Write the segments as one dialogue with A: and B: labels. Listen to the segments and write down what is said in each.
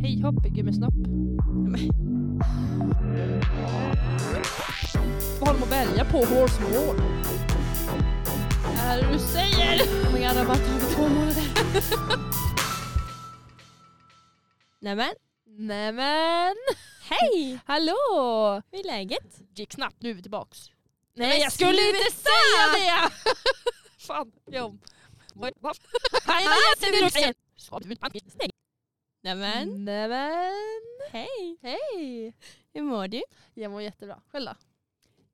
A: Hej hopp, gummisnopp. Vad har de att välja på? Horse War? Är det du säger?
B: Oh my god, det har bara tagit två månader. Nämen,
A: Nämen!
B: hej!
A: Hallå!
B: Hur är läget?
A: Det är knappt, nu är vi tillbaks.
B: Nej,
A: Men jag skulle inte säga det! Fan, jag om. Vad- vad- Nej, nej, jag säger det du säger. Så, du-
B: Nämen,
A: Nämen!
B: hej!
A: Hej!
B: Hur mår du?
A: Jag mår jättebra. Själv då?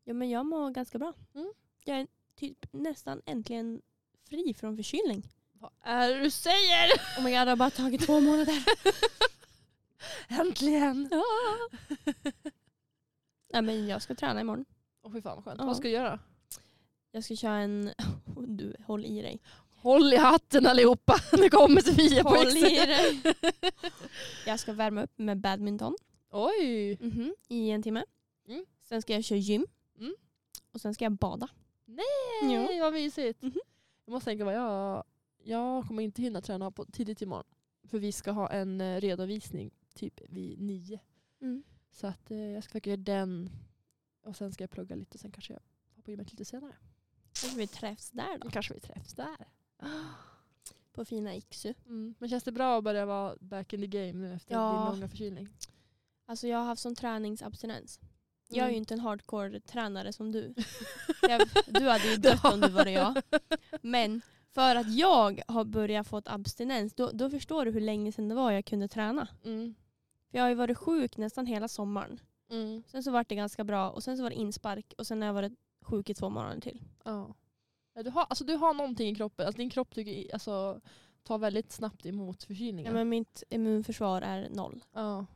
B: Ja men jag mår ganska bra.
A: Mm.
B: Jag är typ nästan äntligen fri från förkylning.
A: Vad är det du säger?
B: Oh my god, det har bara tagit två månader.
A: Äntligen!
B: Nej men jag ska träna imorgon.
A: Åh fy fan vad skönt.
B: Ja.
A: Vad ska du göra?
B: Jag ska köra en... oh, Du, håll i dig.
A: Håll i hatten allihopa, nu kommer Sofia på
B: Håll i
A: exet.
B: dig. Jag ska värma upp med badminton.
A: Oj!
B: Mhm, I en timme.
A: Mm.
B: Sen ska jag köra gym.
A: Mm.
B: Och sen ska jag bada.
A: Nej,
B: Ja.
A: vad mysigt.
B: Mhm.
A: Jag måste tänka vad jag... Jag kommer inte hinna träna på tidigt imorgon. För vi ska ha en eh, redovisning typ vid nio.
B: Mm.
A: Så att eh, jag ska försöka göra den. Och sen ska jag plugga lite och sen kanske jag hoppar på gymmet lite senare.
B: Kanske vi träffs där då.
A: Då kanske vi träffs där.
B: På fina Iksu.
A: Mm. Men känns det bra att börja vara back in the game nu efter
B: Ja.
A: din långa förkylning?
B: Alltså jag har haft sån träningsabstinens. Jag är ju
A: Mm.
B: inte en hardcore tränare som du. Jag, du hade ju dött om du var det jag. Men för att jag har börjat få ett abstinens, då, då förstår du hur länge sedan det var jag kunde träna.
A: Mm.
B: För jag har ju varit sjuk nästan hela sommaren.
A: Mm.
B: Sen så var det ganska bra och sen så var det inspark och sen har jag varit sjuk i två månader till.
A: Ja. Ja, Du har, alltså, du har någonting i kroppen. Alltså, din kropp tycker, i- alltså, tar väldigt snabbt emot
B: Ja,
A: förkylningar.
B: men mitt immunförsvar är noll,
A: Ja.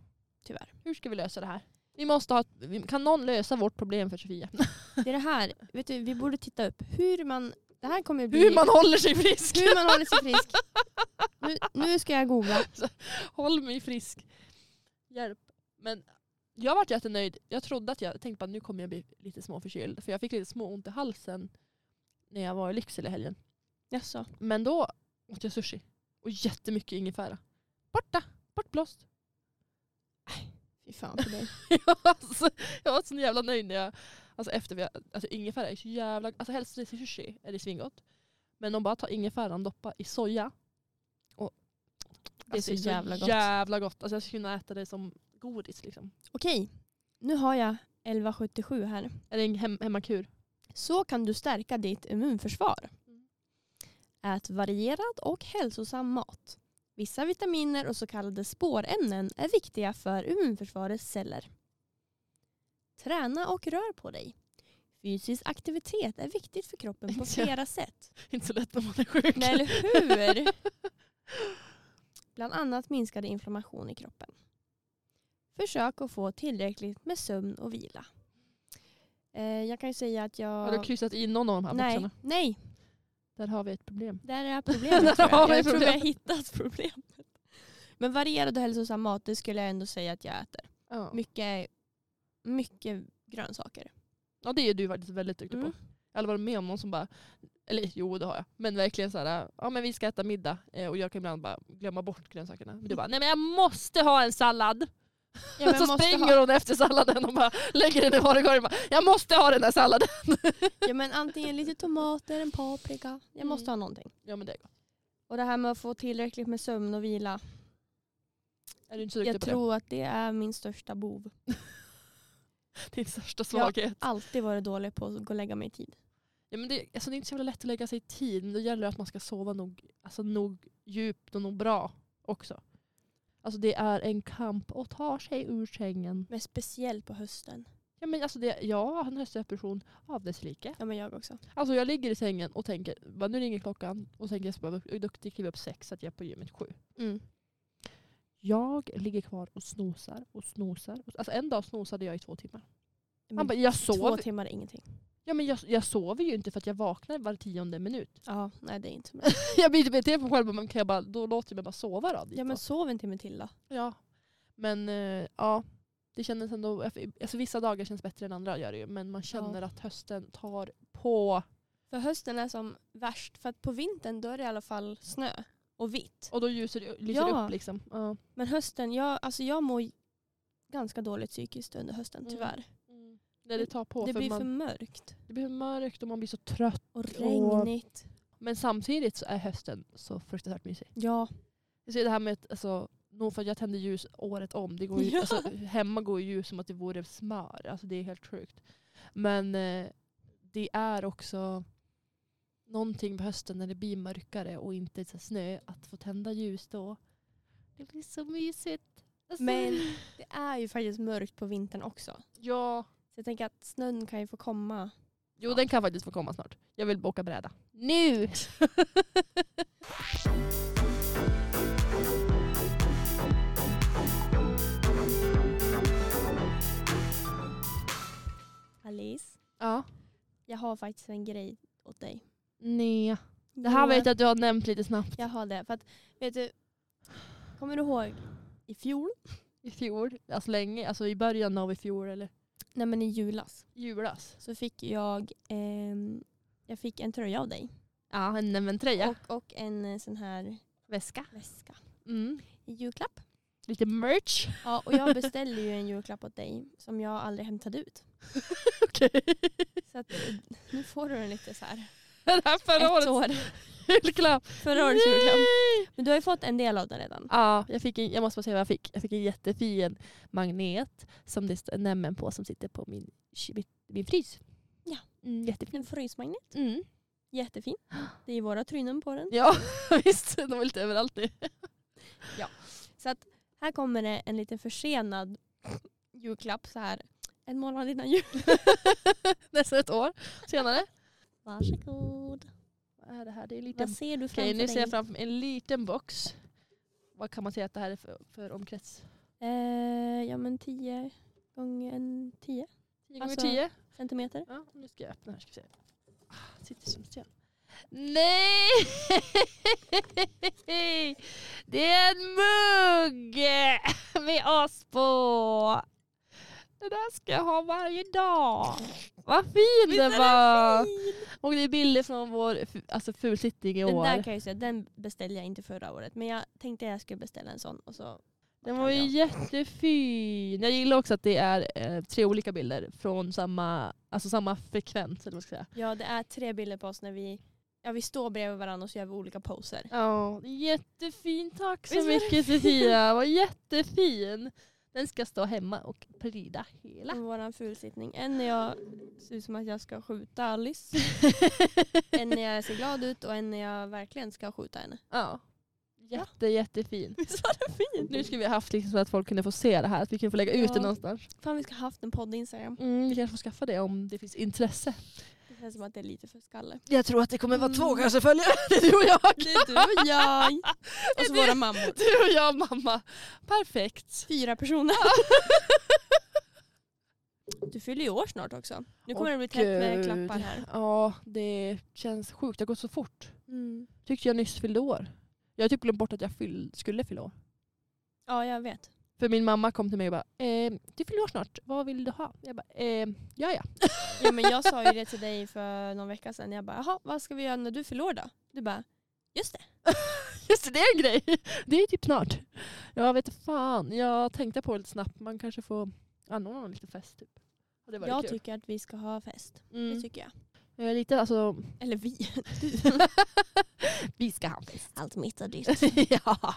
B: tyvärr.
A: Hur ska vi lösa det här? Vi måste ha, vi- kan någon lösa vårt problem för Sofia?
B: Det är det här, vet du, vi borde titta upp hur man, det här kommer bli,
A: Hur man håller sig frisk!
B: hur man håller sig frisk. Nu, nu ska jag googla.
A: Håll mig frisk. Hjälp. Men jag vart jättenöjd. Jag trodde att jag tänkte att nu kommer jag bli lite småförkyld. För jag fick lite små ont i halsen när jag var i Lycksele i helgen.
B: Jaså?
A: Men då åt jag sushi. Och jättemycket ingefära. Borta! Bortblåst.
B: Fy fan för dig.
A: alltså, jag var så jävla nöjd när jag, alltså efter vi, alltså ingefära är så jävla, alltså helst i sushi är det svingott. Men om bara tar ingefäran doppa i soja. Och,
B: Det är så Alltså, jävla gott.
A: jävla gott. Alltså jag skulle kunna äta det som godis liksom.
B: Okej, nu har jag 1177 här.
A: Eller en hem, hemmakur.
B: Så kan du stärka ditt immunförsvar.
A: Mm.
B: Ät varierad och hälsosam mat. Vissa vitaminer och så kallade spårämnen är viktiga för immunförsvarets celler. Träna och rör på dig. Fysisk aktivitet är viktigt för kroppen på
A: Ja.
B: flera sätt.
A: Inte så lätt när man är sjuk.
B: Nej, eller hur? Bland annat minskade inflammation i kroppen. Försök att få tillräckligt med sömn och vila. Eh, jag kan ju säga att
A: Har du
B: jag...
A: kryssat i någon av de här
B: Nej,
A: boxarna?
B: nej,
A: Där har vi ett problem.
B: där är problemet.
A: Där
B: tror
A: har
B: jag
A: vi
B: jag tror jag
A: problemet.
B: har hittat problemet. Men varierad och hälsosam mat, det skulle jag ändå säga att jag äter.
A: Ja,
B: Mycket, mycket grönsaker.
A: ja det är du faktiskt väldigt duktig
B: Mm.
A: på. Jag har aldrig varit med om någon som bara, eller jo det har jag, men verkligen så här, ja men vi ska äta middag eh, och jag kan ibland bara glömma bort grönsakerna. Men du bara, nej men jag måste ha en sallad!
B: Ja, men jag
A: så
B: måste ha-
A: Alltså, springer hon efter salladen och bara lägger den i varukorgen och bara, jag måste ha den här salladen!
B: Ja, men antingen lite tomater, en paprika. Jag måste
A: Mm.
B: ha någonting.
A: Ja men det är gott.
B: Och det här med att få tillräckligt med sömn och vila.
A: Är du inte så duktig
B: Jag
A: på
B: tror att det är min största bov.
A: det? Din största svaghet. Ja.
B: Alltid varit dålig på att gå och lägga mig i tid.
A: men det, alltså, det är inte så jävla lätt att lägga sig i tid men då gäller det att man ska sova nog, alltså, nog djupt och nog bra också. Alltså det är en kamp att ta sig ur sängen.
B: Men speciellt på hösten.
A: Ja, men alltså det, jag har en höstdepression av dess like.
B: Ja men jag också.
A: Alltså jag ligger i sängen och tänker, bara, nu ringer klockan och tänker jag ska vara duktig, kliva upp sex så att jag är på gymmet sju.
B: Mm.
A: Jag ligger kvar och snosar och snosar. Alltså en dag snosade jag i två timmar.
B: Men
A: Han bara, jag
B: Två
A: sov.
B: timmar är ingenting.
A: Ja, men jag, jag sover ju inte för att jag vaknar var tionde minut.
B: Ja, nej det är inte så bra.
A: jag blir lite irriterad på mig själv, men kan jag bara, då låter jag mig bara sova då. dit
B: Ja men
A: då.
B: sov en timme till då.
A: ja. men eh, ja, det kändes ändå, alltså vissa dagar känns bättre än andra gör det ju, men man känner att hösten tar på.
B: För hösten är som värst. För att på vintern då är det i alla fall snö. och vitt.
A: Och då ljuser det lyser
B: Ja.
A: upp liksom. Ja.
B: Men hösten, jag, alltså jag mår ganska dåligt psykiskt under hösten
A: Mm.
B: tyvärr.
A: När det tar på
B: det
A: för,
B: blir för
A: man,
B: mörkt
A: det blir för mörkt och man blir så trött.
B: och regnigt.
A: Men samtidigt så är hösten så fruktansvärt mysig.
B: Ja,
A: Jag ser det här med att, alltså, nog för att jag tänder ljus året om. Det går ju,
B: Ja.
A: alltså, hemma går ju ljus som att det vore smör. Alltså, det är helt sjukt. Men eh, det är också någonting på hösten när det blir mörkare och inte så här snö. Att få tända ljus då. Det blir så mysigt. Alltså,
B: men det är ju faktiskt mörkt på vintern också.
A: Ja.
B: Så jag tänker att snön kan ju få komma.
A: Jo, den kan faktiskt få komma snart. Jag vill åka bräda. Nu!
B: Alice,
A: ja.
B: jag har faktiskt en grej åt dig.
A: Nej. Det här vet jag att du har nämnt lite snabbt
B: Jag har det. För att, vet du, kommer du ihåg i fjol?
A: i fjol. Alltså länge, alltså i början av i fjol eller
B: Nej men i julas.
A: julas.
B: Så fick jag, ehm, jag fick en tröja av dig.
A: Ja, en Neven-tröja.
B: Och, och en eh, sån här
A: Väska.
B: väska
A: Mm.
B: i julklapp.
A: Lite merch.
B: Ja, och jag beställde ju en julklapp åt dig som jag aldrig hämtade ut.
A: Okej.
B: Så att, eh, nu får du den lite så här.
A: Är det här förra
B: Ett
A: årets
B: år.
A: julklapp?
B: Förra årets julklapp.
A: Nej!
B: Men du har ju fått en del av den redan.
A: Ja, jag, fick en, jag måste bara säga vad jag fick. Jag fick en jättefin magnet som det står nämmen på som sitter på min, ky- mitt- min frys.
B: Ja.
A: Mm, jättefin.
B: En frysmagnet.
A: Mm.
B: Jättefin. Det är våra trynen på den.
A: Ja, visst. De är lite överallt nu.
B: Så att här kommer det en lite försenad julklapp så här en månad innan jul.
A: Nästan ett år senare.
B: Varsågod.
A: Vad är det här? Det är lite
B: Vad ser du framför
A: Okej, nu
B: dig?
A: ser jag framför mig en liten box. Vad kan man säga att det här är för, för omkrets?
B: Eh, ja men 10 gånger en 10
A: 10 gånger
B: Alltså-
A: 10?
B: centimeter.
A: Ja, nu ska jag öppna här. Ska vi se. Ah, sitter som sten. Nej! Det är en mugg med oss på. Det där ska jag ha varje dag. Vad fin den var! Och det är bilder från vår f- alltså, fulsittning i
B: Den där
A: år.
B: kan jag ju säga, den beställde jag inte förra året. Men jag tänkte jag skulle beställa en sån. Och så
A: Den var ju jättefin. Jag gillar också att det är eh, tre olika bilder från samma, alltså, samma frekvens. Eller vad man ska säga.
B: Ja det är tre bilder på oss när vi, ja, vi står bredvid varandra och så gör vi olika poser.
A: Ja, jättefin. Tack så
B: Visst var det
A: mycket Sofia. Vad jättefin. Den ska stå hemma och pryda hela.
B: Och våran fulsittning. En när jag ser ut som att jag ska skjuta Alice. Mm. en när jag ser glad ut och en när jag verkligen ska skjuta henne.
A: Ja. Jätte, jättefin.
B: Visst var det fint?
A: Nu skulle vi ha haft liksom så att folk kunde få se det här, att vi kunde få lägga ut
B: Ja.
A: det någonstans.
B: Fan vi ska ha haft en podd Instagram.
A: Mm, vi kanske får skaffa det om det finns intresse.
B: Det känns som att det är lite för skalle.
A: Jag tror att det kommer
B: vara två
A: kanske följare. Det är du och jag.
B: Det är du och jag. Och så
A: Det-
B: våra mammor.
A: Du och jag mamma. Perfekt.
B: Fyra personer. Du fyller ju år snart också. Nu kommer
A: Åh,
B: det bli tätt med
A: gud.
B: klappar här.
A: Ja, det känns sjukt. Det har gått så fort. Tyckte jag nyss fyllde år. Jag har typ glömt bort att jag fyll, skulle fylla år.
B: Ja jag vet.
A: För min mamma kom till mig och bara, eh, du fyller år snart, vad vill du ha? Jag bara, eh, ja ja.
B: Ja, men jag sa ju det till dig för någon vecka sedan. Jag bara, jaha vad ska vi göra när du fyller år då? Du bara, just det.
A: Just det, det är en grej. Det är typ snart. Jag vet fan, jag tänkte på det lite snabbt, man kanske får anordna en liten fest typ. Och det var
B: Jag
A: kul.
B: tycker att vi ska ha fest. Det
A: Mm.
B: tycker jag.
A: Jag är lite alltså,
B: Eller vi.
A: vi ska ha en fest.
B: Allt mitt och ditt.
A: ja.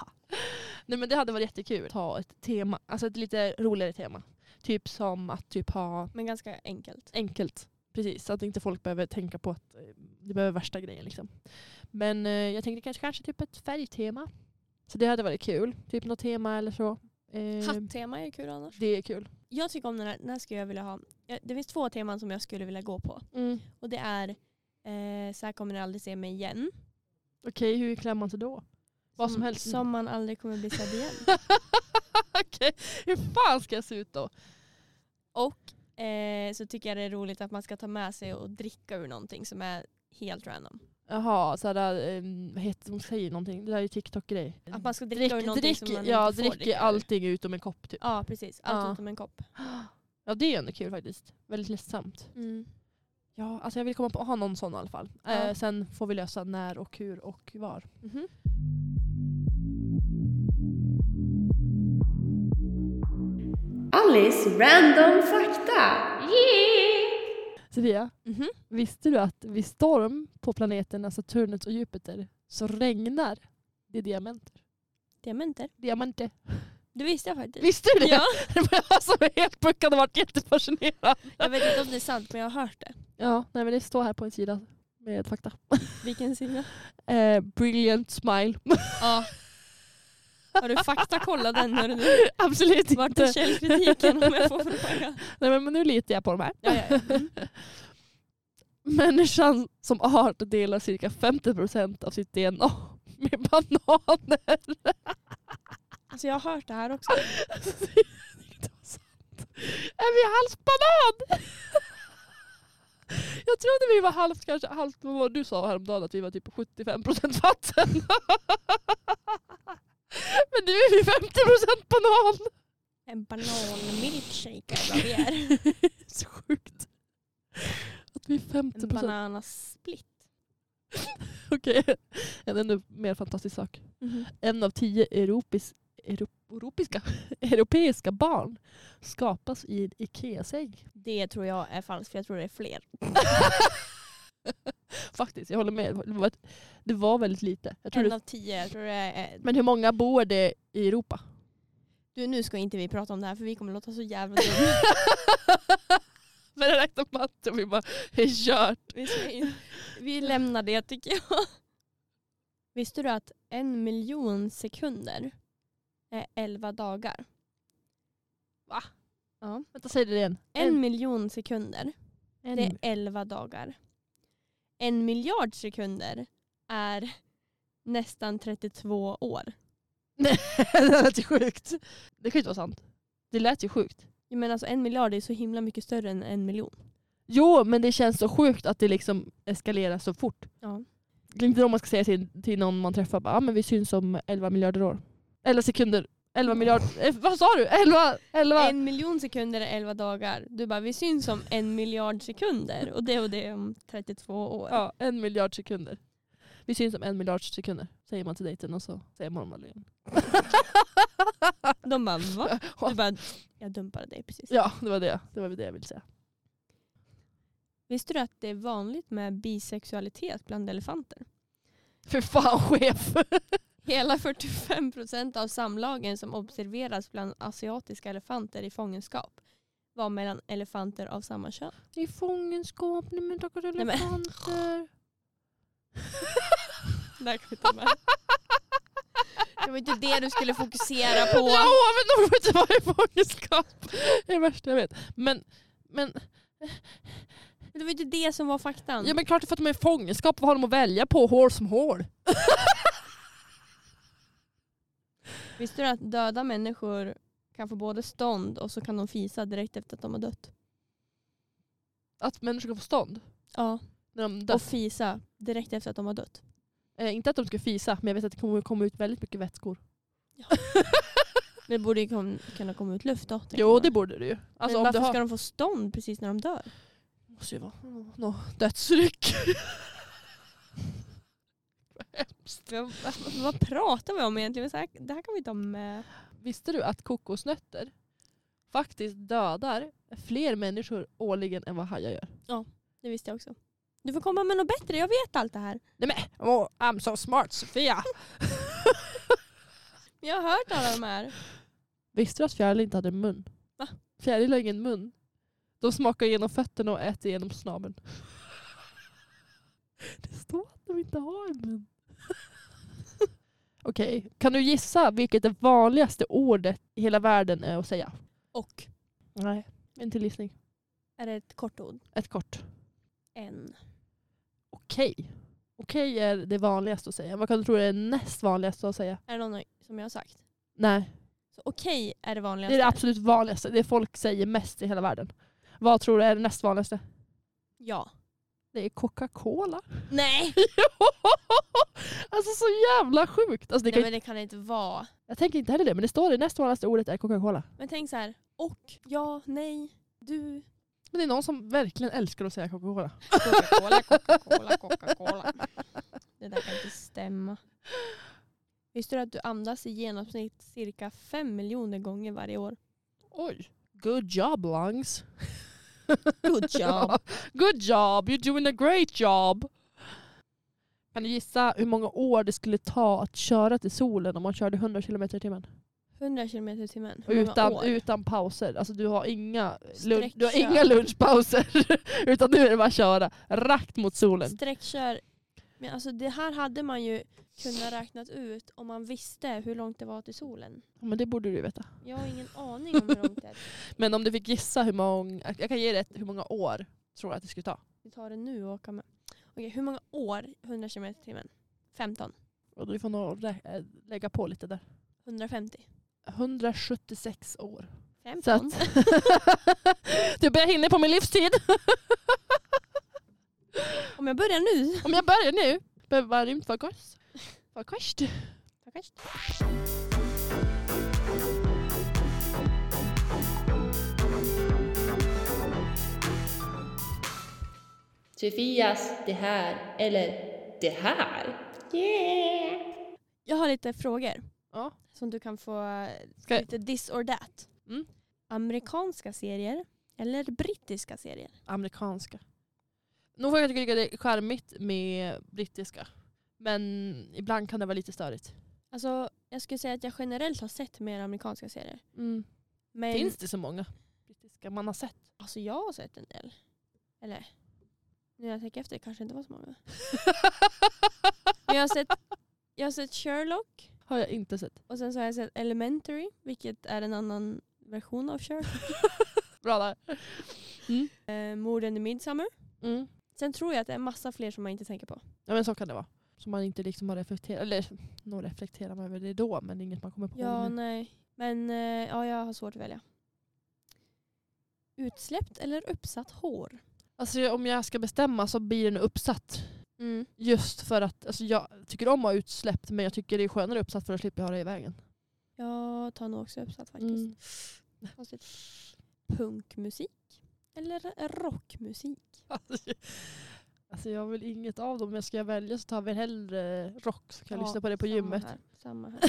A: Nej men det hade varit jättekul att ha ett tema, alltså ett lite roligare tema. Typ som att typ ha
B: Men ganska enkelt.
A: enkelt. Precis, så att inte folk behöver tänka på att eh, det behöver värsta grejen. Liksom. Men eh, jag tänkte kanske, kanske typ ett färgtema. Så det hade varit kul. Typ något tema eller så. Eh,
B: Hattema är kul annars.
A: Det är kul.
B: Jag tycker om den här, den här skulle jag vilja ha. Ja, Det finns två teman som jag skulle vilja gå på.
A: Mm.
B: Och det är eh, Så här kommer ni aldrig se mig igen.
A: Okej, hur klär man sig då? Vad Mm, som helst.
B: Som man aldrig kommer bli sedd igen.
A: Okej, hur fan ska jag se ut då?
B: Och eh, så tycker jag det är roligt att man ska ta med sig och dricka ur någonting som är helt random.
A: Jaha, sådär, eh, vad heter hon säger någonting? Det där är ju TikTok-grej.
B: Att man ska dricka ur någonting
A: Mm. drick,
B: som man
A: ja,
B: inte får
A: drick
B: dricka ur.
A: allting utom en kopp typ.
B: Ja precis, allt
A: Ja.
B: utom en kopp.
A: Ja det är ju ändå kul faktiskt. Väldigt ledsamt. Ja, alltså jag vill Eh, komma på att ha någon sån i alla fall.
B: Ja.
A: Eh, sen får vi lösa när och hur och var.
B: Mhm.
C: Alice random fakta!
A: Sofia,
B: Mhm.
A: visste du att vid storm på planeterna Saturnus och Jupiter så regnar det diamanter?
B: Diamanter.
A: Diamanter.
B: Det visste jag faktiskt.
A: Visste du det?
B: Ja,
A: Det var jag som är helt puckad och varit jättefascinerad.
B: jag vet inte om det är sant men jag har hört det.
A: Ja, nej, men det står här på en sida med fakta.
B: Vilken sida?
A: Eh, brilliant smile.
B: Ja. Har du faktakollat den? Hör du?
A: Absolut
B: Vart är
A: inte.
B: källkritiken om jag får fråga?
A: Nej, men nu litar jag på de här.
B: Ja, ja, ja. Mm.
A: Människan som art delar cirka 50% av sitt DNA med bananer.
B: Alltså jag har hört det här också.
A: Alltså, det är inte sant. Är vi halvbanan? Jag trodde vi var halvt, kanske halvt vad var det du sa häromdagen att vi var typ 75% vatten. Men nu är vi 50% banan.
B: En bananmilkshake är vad vi är.
A: Så sjukt. Att vi är 50%.
B: En bananasplit.
A: Okej, en ännu mer fantastisk sak. En av tio europis, euro, europiska, europeiska barn skapas i en Ikea-säng.
B: Det tror jag är falskt för jag tror det är fler.
A: Faktiskt, jag håller med. Det var, det var väldigt lite. Jag tror
B: En
A: det,
B: av tio. Jag tror det är... eh,
A: men hur många bor det i Europa?
B: Du nu ska inte vi prata om det här för vi kommer låta så jävla dumma.
A: Men jag räknar matte och vi bara, det är kört.
B: Vi, ska in- vi lämnar det tycker jag. Visste du att en miljon sekunder är elva dagar?
A: Va?
B: Ja.
A: Vänta, säg det igen.
B: En, miljon sekunder,
A: en,
B: det är elva dagar. En miljard sekunder är nästan 32 år.
A: det lät ju sjukt. Det kan ju inte vara sant. Det lät ju sjukt.
B: Jag menar alltså en miljard är så himla mycket större än en miljon.
A: Jo, men det känns så sjukt att det liksom eskalerar så fort.
B: Ja.
A: Det är inte om man ska säga till, till någon man träffar bara, ah, men vi syns om 11 miljarder år. 11 sekunder. 11 miljarder. Eh, vad sa du? 11? 11?
B: En miljon sekunder är elva dagar. Du bara, vi syns om en miljard sekunder och det och det är om 32 år.
A: Ja, en miljard sekunder. Vi syns om en miljard sekunder, säger man till dejten och så säger man om alla igen.
B: De bara, va? Du bara, jag dumpade dig precis.
A: Ja, det var det, det var det jag ville säga.
B: Visste du att det är vanligt med bisexualitet bland elefanter?
A: För fan chef!
B: Hela 45% av samlagen som observeras bland asiatiska elefanter i fångenskap var mellan elefanter av samma kön.
A: I fångenskap, nej men tackar
B: men-
A: elefanter.
B: Där kan vi ta med. Det var inte det du skulle fokusera på.
A: Ja, men de får inte vara i fångenskap. Det är det värsta jag vet. Men, men,
B: Men Det var inte det som var faktan.
A: ja, men klart för att de är i fångenskap, vad har de att välja på? Hål som hål.
B: Visste du att döda människor kan få både stånd och så kan de fisa direkt efter att de har dött?
A: Att människor kan få stånd
B: Ja.
A: när de dör.
B: Och fisa direkt efter att de har dött.
A: Eh, inte att de ska fisa, men jag vet att det kommer komma ut väldigt mycket vätskor.
B: Men det borde ju kom, kunna komma ut luft då. tänker
A: Jo,
B: man.
A: det borde det ju. Alltså,
B: men
A: om
B: varför
A: du har...
B: ska de få stånd precis när de dör?
A: måste ju vara något dödsryck. Vad hemskt.
B: Vad pratar vi om egentligen? Så här- Det här kan vi ta med.
A: Visste du att kokosnötter faktiskt dödar fler människor årligen än vad hajar gör?
B: Det visste jag också. Du får komma med något bättre, jag vet allt det här.
A: Nej men, oh, I'm so smart Sofia!
B: Jag har hört alla de här.
A: Visste du att fjärilar inte hade en mun?
B: Va?
A: Fjärilar har ingen mun. De smakar genom fötterna och äter genom snabeln. Det står att de inte har en mun. Okej, kan du gissa vilket det vanligaste ordet i hela världen är att säga?
B: Och?
A: Nej. En till gissning.
B: Är det ett kort ord?
A: Ett kort.
B: En.
A: Okej. Okej är det vanligaste att säga. Vad kan du tro är det näst vanligaste att säga?
B: Är det någon som jag har sagt?
A: Nej,
B: Så okej är det
A: det
B: vanligaste.
A: är det absolut vanligaste. Det folk säger mest i hela världen. Vad tror du är det näst vanligaste?
B: Ja.
A: Det är Coca-Cola.
B: Nej!
A: alltså så jävla sjukt. Alltså, det
B: Nej
A: kan,
B: men det kan det inte vara.
A: jag tänker inte heller det, men det står det näst vanligaste ordet är Coca-Cola.
B: Men tänk så här. Och, ja, nej, du.
A: Men det är någon som verkligen älskar att säga Coca-Cola.
B: Coca-Cola, Coca-Cola, Coca-Cola. Det där kan inte stämma. Visste du att du andas i genomsnitt cirka fem miljoner gånger varje år?
A: Oj, Good job lungs.
B: Good job.
A: Ja. Good job, you're doing a great job. Kan du gissa hur många år det skulle ta att köra till solen om man körde 100 km i timmen?
B: 100 km i timmen. Hur många
A: Utan,
B: år?
A: utan pauser. Alltså du har inga, lun- du har
B: Sträckkör.
A: inga lunchpauser. utan nu är det bara att köra rakt mot solen.
B: Sträckkör. Men alltså det här hade man ju kunnat räknat ut om man visste hur långt det var till solen.
A: Ja, Men det borde du ju veta.
B: Jag har ingen aning om hur långt det är.
A: Men om du fick gissa hur många, jag kan ge dig ett, hur många år tror jag att det skulle ta.
B: Vi tar det nu och åker med. Okej, hur många år 100 km i timmen? 15.
A: Och du får nog rä- äh, lägga på lite där.
B: 150.
A: 176 år.
B: 15.
A: Så att, typ jag hinner på min livstid.
B: Om jag börjar nu.
A: Om jag börjar nu. Behöver bara rymdfarkost. Farkost.
B: Tackars.
C: Sofias det här eller det här. Yeah!
B: Jag har lite frågor
A: Ja.
B: som du kan få eh,
A: Ska-
B: lite this or that.
A: Mm.
B: Amerikanska serier eller brittiska serier?
A: Amerikanska. Nog får jag tycka det är charmigt med brittiska. Men ibland kan det vara lite störigt.
B: Alltså, jag skulle säga att jag generellt har sett mer amerikanska serier.
A: Mm.
B: Men
A: Finns det så många brittiska man har sett?
B: alltså jag har sett en del. Eller? Nu när jag tänker efter kanske inte var så många. Men jag har sett, jag har sett Sherlock
A: har jag inte sett.
B: och sen så har jag sett Elementary vilket är en annan version av Sherlock.
A: Bra där.
B: eh, Morden i Midsummer.
A: Mm.
B: Sen tror jag att det är massa fler som man inte tänker på.
A: Ja men så kan det vara. Som man inte liksom har reflekterat eller nog reflekterar man över det då men inget man kommer på
B: Ja,
A: nu.
B: nej. Men eh, ja, jag har svårt att välja. Utsläppt eller uppsatt hår?
A: Alltså jag- om jag ska bestämma så blir den uppsatt. Mm. Just för att alltså, jag tycker om att ha utsläppt men jag tycker det är skönare uppsatt för att slippa ha det i vägen.
B: Jag tar nog också uppsatt faktiskt.
A: Mm.
B: Konstigt. Punkmusik eller rockmusik?
A: Alltså, alltså jag vill inget av dem men ska jag välja så tar vi hellre rock så kan jag
B: Ja,
A: lyssna på det på
B: samma
A: gymmet.
B: Här, samma här.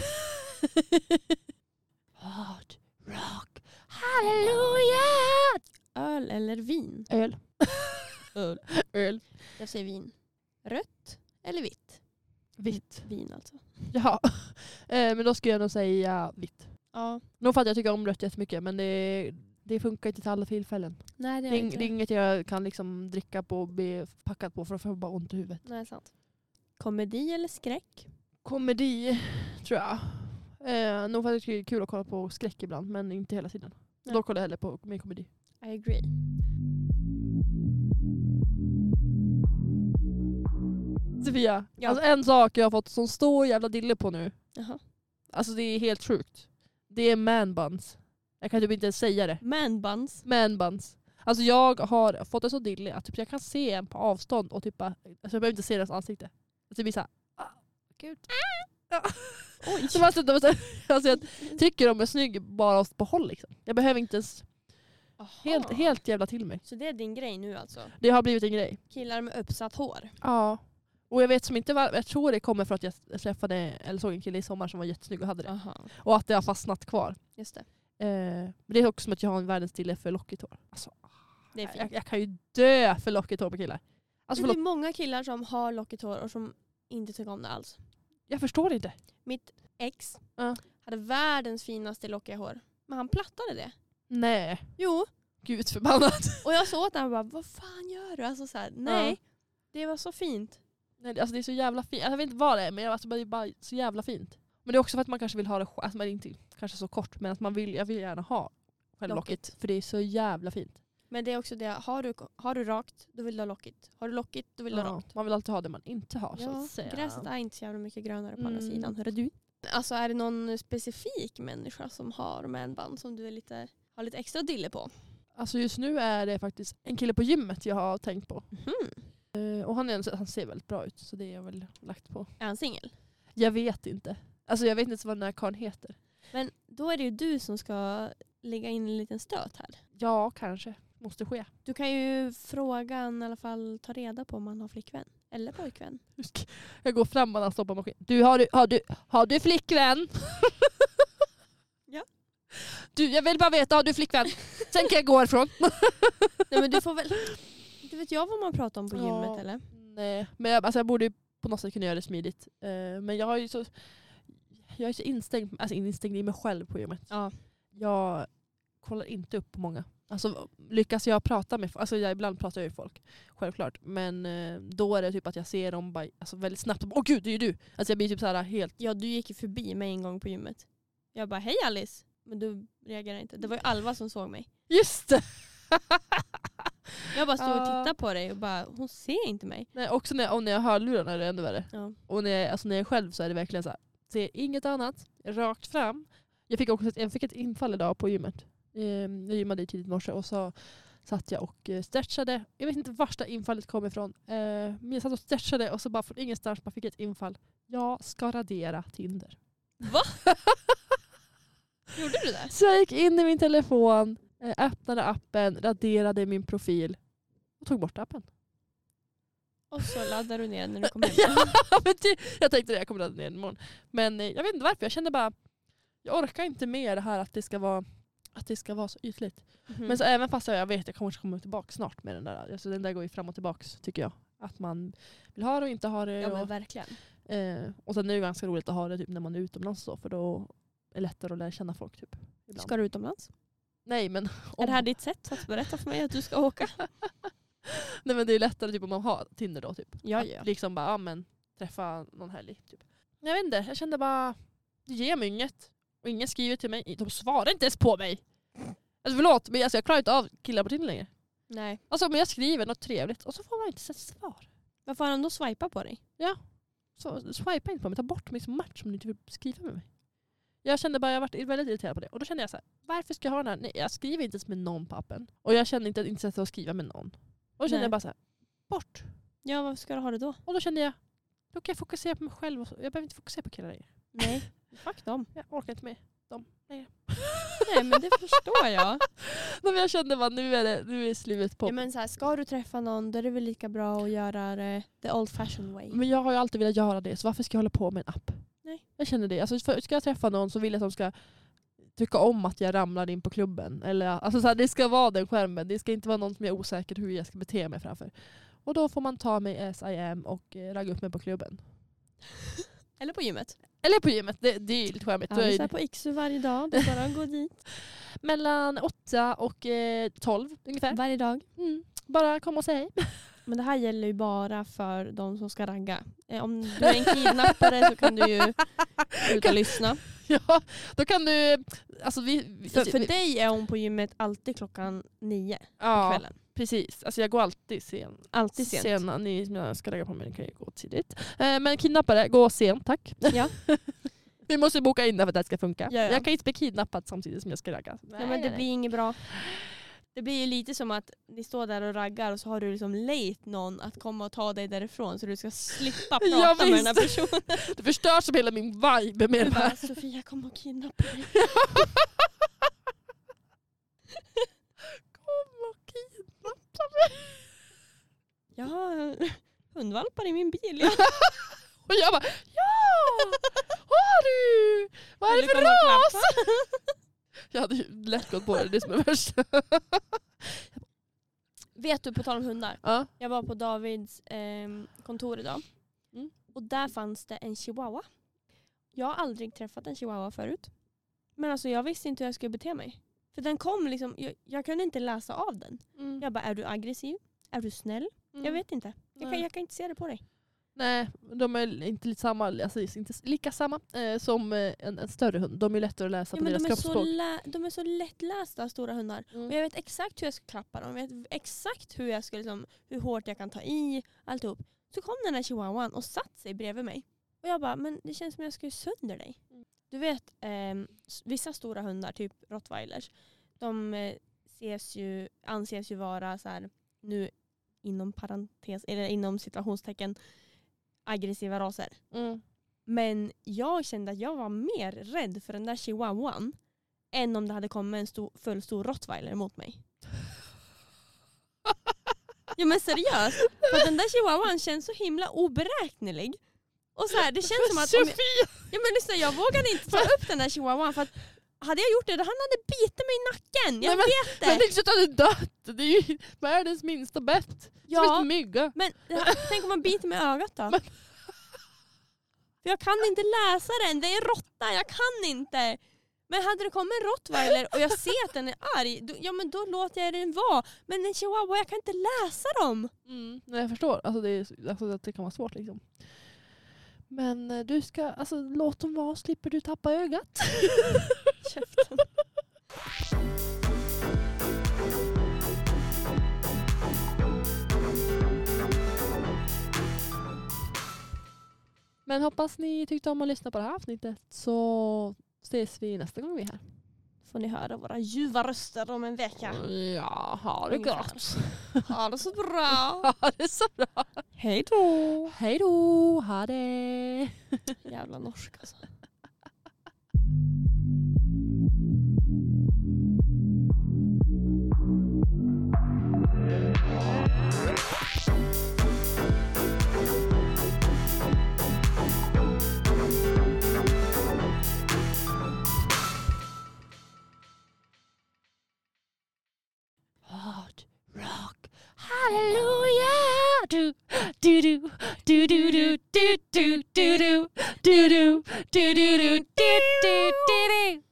A: Hard rock, halleluja!
B: Öl eller vin?
A: Öl. Öl. Öl.
B: Jag säger vin. Rött eller vitt?
A: Vitt.
B: Vin alltså.
A: Ja. Eh, men då skulle jag nog säga vitt.
B: Ja.
A: Nog för att jag tycker om rött jättemycket men det, det funkar inte till alla tillfällen.
B: Nej, det
A: Det
B: är
A: är, ing-
B: inte.
A: det är inget jag kan liksom dricka på och bli packad på för då får jag bara ont i huvudet.
B: Nej, sant. Komedi eller skräck?
A: komedi, tror jag. Eh, nog för att jag tycker det är kul att kolla på skräck ibland, men inte hela tiden.
B: Nej.
A: Då kollar jag hellre på mer komedi.
B: I agree.
A: Sofia,
B: Ja.
A: alltså en sak jag har fått sån stor jävla dille på nu.
B: Jaha.
A: Alltså det är helt sjukt. Det är manbuns. Jag kan typ inte ens säga det.
B: Man buns.
A: Manbuns. Alltså jag har fått en så dille att typ jag kan se en på avstånd och typ bara, alltså jag behöver inte se deras ansikte. Alltså det blir såhär, ah, gud. Ah.
B: Oj.
A: Så man sitter och så här- alltså jag tycker de är snygg bara på håll liksom. Jag behöver inte ens Helt,
B: Aha.
A: helt jävla till mig.
B: Så det är din grej nu alltså?
A: Det har blivit en grej.
B: Killar med uppsatt hår?
A: Ja. Och jag vet som inte var, jag tror det kommer för att jag träffade eller såg en kille i sommar som var jättesnygg och hade det.
B: Aha.
A: Och att det har fastnat kvar.
B: Just det.
A: Eh, men det är också som att jag har en världens stille för lockigt hår. Alltså,
B: Det är
A: jag,
B: fint.
A: jag kan ju dö för lockigt hår på killar. Alltså,
B: det
A: förlåt,
B: är många killar som har lockigt hår och som inte tycker om det alls.
A: jag förstår inte.
B: Mitt ex
A: Ja.
B: hade världens finaste lockiga hår. Men han plattade det.
A: Nej,
B: Jo.
A: gud förbannat.
B: Och jag sa åt honom bara, vad fan gör du? Alltså så här, nej.
A: Ja.
B: Det var så fint.
A: Nej, det- alltså, det är så jävla fint. Alltså, jag vet inte vad det är men alltså, det är bara så jävla fint. Men det är också för att man kanske vill ha det, sj- alltså, man är inte kanske så kort men att man vill, jag vill gärna ha själv
B: Lockigt.
A: locket. För det är så jävla fint.
B: Men det är också det, har du, har du rakt, då vill du ha lockigt. Har du lockigt, då vill du ha
A: Ja,
B: rakt.
A: Man vill alltid ha det man inte har. så
B: Ja,
A: att säga.
B: gräset är inte så jävla mycket grönare på andra
A: Mm.
B: sidan. Hörru du. Alltså är det någon specifik människa som har manband som du är lite, har lite extra dille på?
A: Alltså just nu är det faktiskt en kille på gymmet jag har tänkt på.
B: Mhm.
A: Eh, och han, är, han ser väldigt bra ut så det är jag väl lagt på.
B: Är han singel?
A: Jag vet inte. Alltså jag vet inte ens vad den här karln heter.
B: Men då är det ju du som ska lägga in en liten stöt här.
A: Ja, kanske. Måste ske.
B: Du kan ju fråga i alla fall ta reda på om han har flickvän. Eller pojkvän.
A: Jag går fram och han stoppar maskinen. Du har, du, har, du, har du flickvän?
B: Ja.
A: Du, jag vill bara veta, har du flickvän? Sen kan jag gå härifrån.
B: Nej men du får väl... Inte vet jag vad man pratar om på
A: Ja.
B: gymmet eller?
A: Nej, men jag, alltså jag borde ju på något sätt kunna göra det smidigt. Eh, men jag har ju så, jag är så instängd, alltså instängd i mig själv på gymmet.
B: Ja.
A: Jag kollar inte upp på många. Alltså, lyckas jag prata med folk, alltså jag, ibland pratar jag ju med folk, självklart. Men eh, då är det typ att jag ser dem bara, alltså väldigt snabbt och bara, åh gud det är ju du! Alltså jag blir typ så här helt,
B: Ja du gick ju förbi mig en gång på gymmet. Jag bara hej Alice. Men du reagerade inte. Det var ju Alva som såg mig.
A: just det!
B: Jag bara stod och
A: Ja.
B: tittade på dig och bara hon ser inte mig.
A: Nej, också när, och när jag har hörlurarna är det ännu värre.
B: Ja.
A: Och när jag, alltså när jag är själv så är det verkligen så här, ser inget annat, rakt fram. Jag fick också ett, jag fick ett infall idag på gymmet. Ehm, Jag gymmade ju tidigt i morse och så satt jag och eh, stretchade. Jag vet inte värsta infallet kom ifrån. Eh, Men jag satt och stretchade och så bara från ingenstans bara fick jag ett infall. Jag ska radera Tinder.
B: Gjorde du det?
A: Så jag gick in i min telefon, eh, öppnade appen, raderade min profil och tog bort appen.
B: Och så laddade du ner när du kom hem.
A: Ja, men det, jag tänkte det, jag kommer ladda ner den imorgon. Men eh, jag vet inte varför, jag kände bara jag orkar inte med det här att det ska vara, att det ska vara så ytligt.
B: Mhm.
A: Men så även fast jag, jag vet jag kommer komma tillbaka snart med den där. Alltså, den där går ju fram och tillbaka tycker jag. Att man vill ha det och inte ha det.
B: ja men
A: och,
B: verkligen.
A: eh, och sen är det ju ganska roligt att ha det typ, när man är utomlands och så, för då är det lättare att lära känna folk. Typ, ibland.
B: Ska du utomlands?
A: Nej men
B: Är
A: om-
B: det här ditt sätt att berätta för mig att du ska åka?
A: Nej men det är lättare typ, om man har Tinder då. Typ.
B: Ja,
A: att
B: ja.
A: liksom bara, ja men träffa någon helg. Typ. Jag vet inte, jag kände bara, det ger mig inget. Och ingen skriver till mig, de svarar inte ens på mig. Alltså förlåt, men alltså, jag klarar inte av killar på Tinder längre.
B: Nej.
A: Alltså men jag skriver något trevligt och så får man inte ens ett svar.
B: Varför har han då swipat på dig?
A: Så swipa inte på mig, ta bort mig som match om du inte vill skriva med mig. Jag kände bara, jag varit väldigt irriterad på det. Och då kände jag så här, varför ska jag ha den här? Nej, jag skriver inte ens med någon på appen. Och jag kände inte ett intresse av att skriva med någon. Och då kände
B: Nej.
A: jag bara så här, bort.
B: Ja varför ska du ha det då?
A: Och då kände jag, då kan jag fokusera på mig själv. Och så. Jag behöver inte fokusera på killar längre.
B: Nej. Fuck dem.
A: Jag orkar inte med dem längre.
B: Nej men det förstår jag.
A: Nej, men jag kände bara, nu är det, nu är slivet på.
B: Ja,
A: men...
B: men så här, ska du träffa någon då är det väl lika bra att göra det the old fashioned way.
A: jag har ju alltid velat göra det, så varför ska jag hålla på med en app?
B: Nej.
A: Jag känner det. Alltså, för- ska jag träffa någon så vill jag att de ska tycka om att jag ramlar in på klubben. Eller, alltså, så här, det ska vara den skärmen. Det ska inte vara någon som jag är osäker hur jag ska bete mig framför. Och då får man ta mig as I am och eh, ragga upp mig på klubben.
B: Eller på gymmet.
A: Eller på gymmet, det, det är ju lite charmigt.
B: Ja,
A: Då är
B: vi
A: ju-
B: är på Iksu varje dag. Det är bara att gå dit.
A: Mellan 8 och eh, 12 ungefär.
B: Varje dag.
A: Mm. Bara kom och säg hej.
B: Men det här gäller ju bara för de som ska ragga. Eh, Om du är en kidnappare så kan du ju ut och lyssna.
A: Ja, då kan du... Alltså vi, vi,
B: För, för
A: vi,
B: dig är hon på gymmet alltid klockan nio på
A: ja,
B: kvällen.
A: precis. Alltså jag går alltid sen.
B: Alltid sent.
A: Sena, ni som jag ska lägga på mig ni kan ju gå tidigt. Eh, men kidnappare, gå sent tack.
B: Ja.
A: Vi måste boka in det för att det här ska funka.
B: Ja, ja.
A: Jag kan inte bli kidnappad samtidigt som jag ska ragga.
B: Nej, men det blir inget bra. Det blir ju lite som att ni står där och raggar och så har du liksom lejt någon att komma och ta dig därifrån så du ska slippa prata
A: Ja,
B: med den här
A: visst.
B: personen.
A: Det förstör som hela min vibe med
B: Du
A: den här.
B: bara, Sofia kom och kidnappa mig.
A: Kom och kidnappa mig.
B: Jag har hundvalpar i min bil. Ja.
A: Och jag bara ja! Har du? Vad är
B: Vill
A: det
B: du
A: för
B: komma och
A: ras?
B: klappa?
A: Jag hade ju lätt gått på det, det är som är värst.
B: Vet du, på tal om hundar.
A: Ja.
B: Jag var på Davids ehm, kontor idag.
A: Mm.
B: Och där fanns det en chihuahua. Jag har aldrig träffat en chihuahua förut. Men alltså jag visste inte hur jag skulle bete mig. För den kom liksom, jag, jag kunde inte läsa av den. Jag bara, är du aggressiv? Är du snäll? Jag vet inte. Jag kan,
A: Mm. Nej.
B: jag kan inte se det på dig.
A: Nej, de är inte, lite samma, alltså, inte lika samma eh, som eh, en, en större hund. De är lättare att läsa
B: Ja,
A: på
B: men
A: deras
B: de, är så
A: kroppsspråk.
B: lä, de är så lättlästa stora hundar.
A: Mm.
B: Och jag vet exakt hur jag ska klappa dem, jag vet exakt hur, jag ska, liksom, hur hårt jag kan ta i, alltihop. Så kom den här chihuahuan och satt sig bredvid mig. Och jag bara, men det känns som jag ska ju sönder dig.
A: Mm.
B: Du vet, ehm, s- vissa stora hundar, typ rottweilers, de eh, ses ju, anses ju vara så här, nu inom parentes, eller inom situationstecken aggressiva raser.
A: Mm.
B: Men jag kände att jag var mer rädd för den där chihuahuan än om det hade kommit en stor, full stor rottweiler mot mig. Ja men seriöst, för den där chihuahuan känns så himla oberäknelig. Och så här, det känns som att om jag,
A: Sofia!
B: ja, men lyssna, jag vågade inte ta upp den där chihuahuan för att hade jag gjort det, då han hade bitit mig i nacken.
A: Nej,
B: Jag
A: men-
B: vet det.
A: Men det är ju så att han är dött. Det är ju världens minsta bett. Som en
B: ja,
A: mygga.
B: men tänk om man biter mig i ögat då?
A: Men-
B: För jag kan inte läsa den, det är råtta, jag kan inte. Men hade det kommit en rottweiler och jag ser att den är arg, då, ja men då låter jag den vara. Men en chihuahua, jag kan inte läsa dem.
A: Mm. Nej, jag förstår. Alltså det, är, alltså att det kan vara svårt liksom. Men eh, du ska, alltså låt dem vara slipper du tappa ögat.
B: Käften.
A: Men hoppas ni tyckte om att lyssna på det här avsnittet så ses vi nästa gång vi är här.
B: Får ni höra våra ljuva röster om en vecka.
A: Ja, ha det
B: Ungefär.
A: gott.
B: Ha det så bra.
A: Ha det så bra.
B: Hej då.
A: Hej då, ha det.
B: Jävla norsk alltså.
A: Hard rock, hallelujah. Do do do do do do do do do do do do do do do do do.